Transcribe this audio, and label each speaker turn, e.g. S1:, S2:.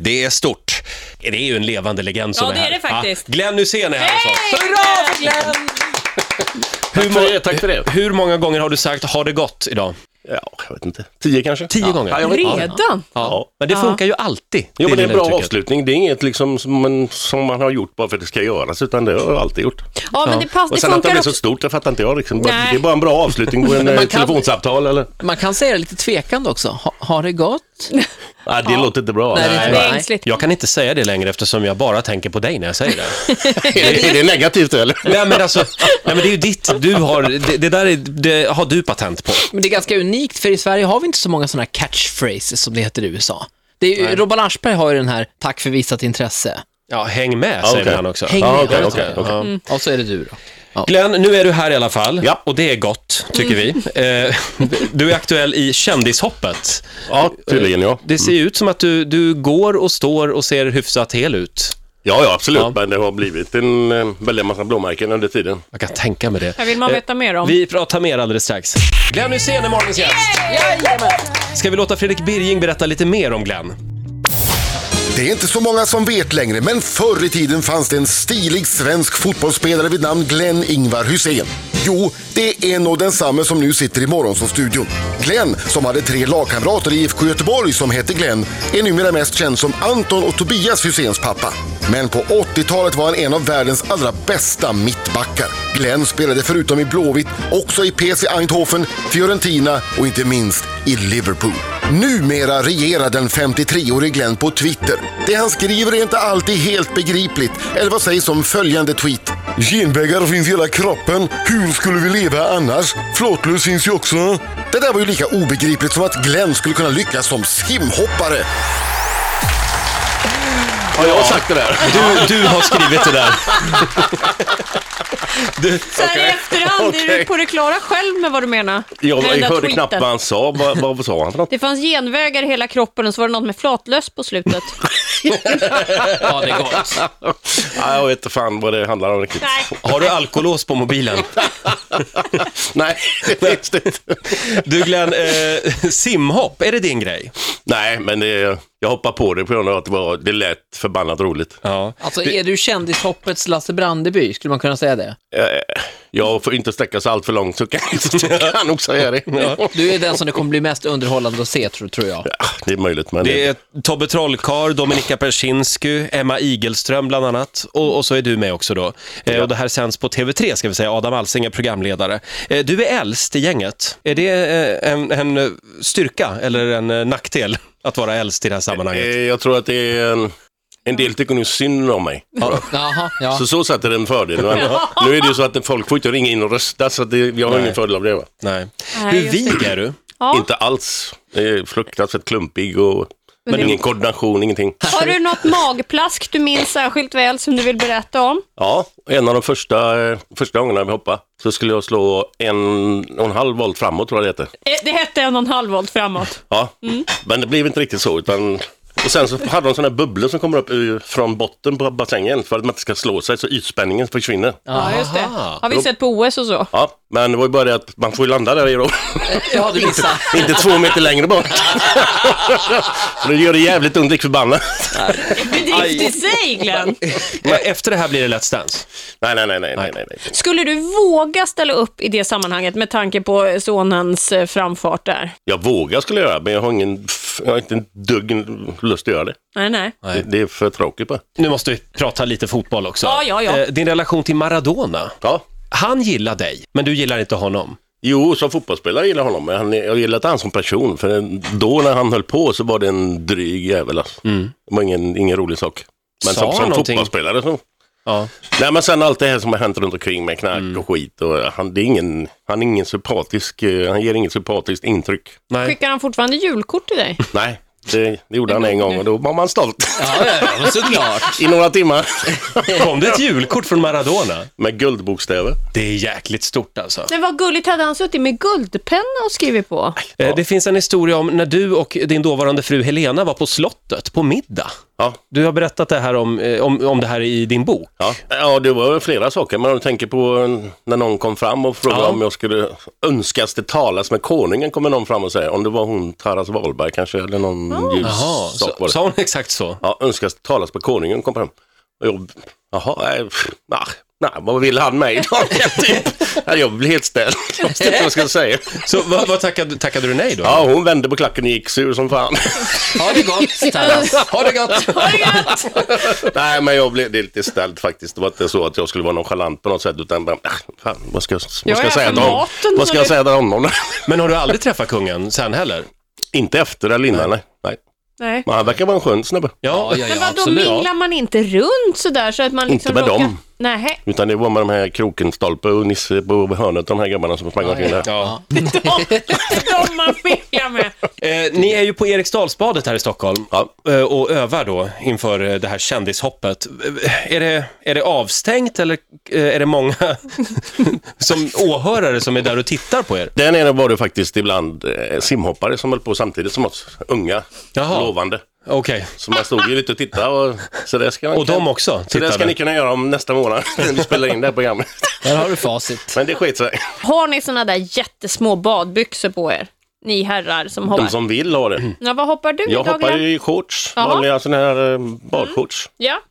S1: Det är stort. Det är ju en levande legend som
S2: Ja,
S1: är
S2: det
S1: här.
S2: är det faktiskt.
S1: Ja, Glenn Hysén är här hos oss.
S2: Hurra för Glenn!
S1: Hur,
S3: Tack för
S1: må-
S3: det, tack för det.
S1: hur många gånger har du sagt ha det gott idag?
S3: Ja, jag vet inte. Tio kanske?
S1: Tio
S3: ja.
S1: gånger?
S3: Ja, jag vet. inte.
S2: Redan?
S1: Ja. Men det funkar ju alltid.
S3: Jo, men det är en
S1: lilla
S3: bra
S1: uttrycket.
S3: avslutning. Det är inget liksom som, man, som man har gjort bara för att det ska göras, utan det har jag alltid gjort.
S2: Ja, men det, pass,
S3: Och
S2: det
S3: sen att det
S2: funkar
S3: blir så
S2: också.
S3: stort, det fattar inte jag. Liksom. Det
S2: Nej.
S3: är bara en bra avslutning på en eh,
S4: man kan-
S3: telefonsamtal eller?
S4: Man kan säga det lite tvekande också. Ha, har det gott?
S3: Nej, det låter inte bra.
S4: Nej, det är
S2: Det
S4: inte
S2: är
S4: bra.
S2: ängsligt.
S1: Jag kan inte säga det längre eftersom jag bara tänker på dig när jag säger det.
S3: Är, det, är det negativt eller?
S1: nej, men alltså, nej, men det är ju ditt. Du har, det, det där är, det har du patent på.
S4: Men det är ganska unikt, för i Sverige har vi inte så många sådana här catchphrases som det heter i USA. Det är ju, Robban Aschberg har ju den här, tack för visat intresse.
S1: Ja, häng med säger
S3: okej.
S1: han också.
S4: Häng
S3: Ja,
S4: med.
S3: okej,
S4: Ja,
S3: okej,
S4: Mm. ja.
S3: okej.
S4: Och så är det du då. Ja.
S1: Glenn, nu är du här i alla fall
S3: Ja.
S1: och det är gott, tycker
S2: Mm.
S1: vi. Eh, Du är aktuell i Kändishoppet.
S3: Ja, tydligen ja.
S1: Det ser ju ut som att du, du går och står och ser hyfsat hel ut.
S3: Ja, ja absolut.
S1: Ja.
S3: Men det har blivit en eh, väldig massa blåmärken under tiden.
S1: Jag kan tänka mig det.
S2: Här
S3: Eh,
S2: vill man veta mer om.
S1: Vi pratar mer alldeles strax. Glenn Hysén är morgonens gäst. Ska vi låta Fredrik Birging berätta lite mer om Glenn?
S5: Det är inte så många som vet längre, men förr i tiden fanns det en stilig svensk fotbollsspelare vid namn Glenn Ingvar Hysén. Jo, det är en och densamme som nu sitter i Morgonzoo-studion. Glenn, som hade tre lagkamrater i IFK Göteborg som hette Glenn, är numera mest känd som Anton och Tobias Hyséns pappa. Men på 80-talet var han en av världens allra bästa mittbackar. Glenn spelade förutom i Blåvitt också i PSV Eindhoven, Fiorentina och inte minst i Liverpool. Numera regerar den 53-årige Glenn på Twitter. Det han skriver är inte alltid helt begripligt, eller vad sägs om följande tweet? Genvägar finns i hela kroppen. Hur skulle vi leva annars? Flåtlös finns ju också. Det där var ju lika obegripligt som att Glenn skulle kunna lyckas som simhoppare.
S3: Ja, jag har sagt det där.
S1: Du, du har skrivit det där. Du,
S2: Så här i efterhand, är du
S3: Okej.
S2: på det klara själv med vad du menar?
S3: Jag,
S2: Med den
S3: jag
S2: där
S3: hörde
S2: tweeten.
S3: knappt vad han sa. Vad, vad sa han för något?
S2: Det fanns genvägar i hela kroppen och så var det något med flatlöss på slutet.
S4: Ja, det är gott.
S3: Ja, jag vet inte fan vad det handlar om riktigt.
S2: Nej.
S1: har du alkolås på mobilen?
S3: Nej, just det.
S1: Du Glenn, eh, simhopp, är det din grej?
S3: Nej, men det, jag hoppar på det på grund av att det, var, det lät förbannat roligt.
S1: Ja.
S4: Alltså, är du kändishoppets Lasse Brandeby, skulle man kunna säga det?
S3: Eh, Jag får inte sträcka sig allt för långt så kan så kan jag nog säga det.
S4: Du är den som det kommer bli mest underhållande att se, tror, tror jag.
S3: Ja, Det är möjligt, men
S1: Det är Tobbe Trollkarl, Dominika Persinsky, Emma Igelström bland annat. Och, och så är du med också då. Eh, och det här sänds på TV3 ska vi säga. Adam Alsing är programledare. Eh, du är äldst i gänget. Är det eh, en, en eh, styrka eller en eh, nackdel att vara äldst i det här sammanhanget?
S3: Eh, jag tror att det är en, en del tycker nog synd om mig.
S4: Jaha, ja.
S3: Så så satt det en fördel. Men nu är det ju så att folk får inte ringa in och rösta så att det, jag har
S1: Nej.
S3: ingen fördel av det. Va?
S1: Nej.
S2: Nej,
S1: Hur
S2: just
S1: vig är du?
S2: Ja.
S3: Inte alls. Det är fruktansvärt klumpig och
S2: Men det-
S3: ingen koordination, ingenting.
S2: Har du något magplask du minns särskilt väl som du vill berätta om?
S3: Ja, en av de första, eh, första gångerna vi hoppade så skulle jag slå en och en halv volt framåt tror jag det heter.
S2: Eh, Det hette en och en halv volt framåt.
S3: Ja, men det blev inte riktigt så utan och sen så hade de sådana här bubblor som kommer upp ur- från botten på bassängen för att man inte ska slå sig så ytspänningen försvinner.
S2: Ja, just det. Har vi sett på OS och så.
S3: Ja, men det var ju bara det att man får ju landa där i då.
S4: Ja, du missade.
S3: inte två meter längre bort. För det gör det jävligt ont, lik förbannat.
S2: Bedrift i sig, Glenn.
S1: Men efter det här blir det Let's Dance.
S3: Nej, nej, nej, nej, nej, nej.
S2: Skulle du våga ställa upp i det sammanhanget med tanke på sonens eh, framfart där?
S3: Jag vågar skulle jag göra, men jag har ingen, jag har inte en dugg lust att göra det.
S2: Nej, nej.
S3: Det, det är för tråkigt bara.
S1: Nu måste vi prata lite fotboll också.
S2: Ja, ja, ja.
S1: Eh, Din relation till Maradona.
S3: Ja.
S1: Han gillar dig, men du gillar inte honom.
S3: Jo, som fotbollsspelare gillar jag honom, men han, jag gillar inte han som person. För en- då när han höll på så var det en dryg jävel. Alltså.
S4: Mm.
S3: Det var ingen, ingen rolig sak. Men
S1: Sa
S3: som,
S1: han
S3: som
S1: någonting?
S3: fotbollsspelare så.
S1: Ja.
S3: Nej, men sen allt det här som har hänt runt omkring med knark
S4: Mm.
S3: och skit. Och han, det är ingen, han är ingen sympatisk, eh, han ger inget sympatiskt intryck.
S1: Nej.
S2: Skickar han fortfarande julkort till dig?
S3: Nej, det, det gjorde han en gång och då var man stolt
S4: Ja, ja, ja, men såklart.
S3: i några timmar.
S1: Kom det ett julkort från Maradona?
S3: med guldbokstäver.
S1: Det är jäkligt stort alltså.
S2: Men vad gulligt, hade han suttit med guldpenna och skrivit på?
S1: Eh, Det finns en historia om när du och din dåvarande fru Helena var på slottet på middag.
S3: Ja,
S1: Du har berättat det här om, eh, om, om det här i din bok.
S3: ja. ja, det var flera saker, men om du tänker på en- när någon kom fram och frågade
S1: Ja.
S3: om jag skulle önskas det talas med konungen, kommer någon fram och säger, om det var hon Taras Wahlberg kanske, eller någon ljus
S1: Jaha,
S3: sak var
S1: så,
S3: det.
S1: sa hon exakt så?
S3: Ja, önskas det talas med konungen, kom fram. Och jag, jaha, nej, pff, nah, nah, vad vill han mig egentligen? typ? Ja, jag blev helt ställd, jag visste inte vad jag skulle säga.
S1: Så vad, vad tackade, tackade du nej då?
S3: Ja, hon vände på klacken och gick sur som fan.
S4: Ha det gott, Taras.
S1: Ha det gott!
S3: Nej, men jag blev det är lite ställd faktiskt. Det var inte så att jag skulle vara nonchalant på något sätt, utan bara, "Ah, fan, vad ska, jag- vad
S2: Jag
S3: ska jag säga
S2: äter
S3: till honom?
S2: maten,
S3: Vad ska
S2: så
S3: jag
S2: det-
S3: säga till honom?
S1: Men har du aldrig träffat kungen sen heller?
S3: inte efter eller innan, nej. nej.
S2: Nej.
S3: Men han verkar vara en skön snubbe.
S4: Ja, ja,
S2: Men
S4: ja,
S2: vadå,
S4: absolut.
S2: minglar man inte runt sådär så att man liksom
S3: med
S2: råkar...
S3: dem.
S2: Nej,
S3: Utan det var med de här krokenstolpe och Nisse på hörnet, de här grabbarna som sprang omkring där.
S1: Ja.
S2: de man minglar med.
S1: Eh, ni är ju på Eriksdalsbadet här i Stockholm
S3: Ja.
S1: eh, och övar då inför eh, det här kändishoppet. Eh, Är det, är det avstängt eller eh, är det många som åhörare som är där och tittar på er?
S3: Där nere var det faktiskt ibland eh, simhoppare som höll på samtidigt som oss, unga,
S1: Jaha.
S3: lovande.
S1: Okej,
S3: Så man stod ju lite och tittade. Och, så det ska man,
S1: och de också
S3: Så det ska
S1: tittade?
S3: ni kunna göra om nästa månad när vi spelar in det här programmet.
S4: Där har du facit.
S3: Men det skiter sig.
S2: Har ni sådana där jättesmå badbyxor på er? Ni herrar som hoppar.
S3: De som vill ha det.
S2: Ja, vad hoppar du i
S3: Jag hoppar
S2: dagligen?
S3: ju i shorts,
S2: Jaha.
S3: vanliga sådana här eh, badshorts.
S2: Ja,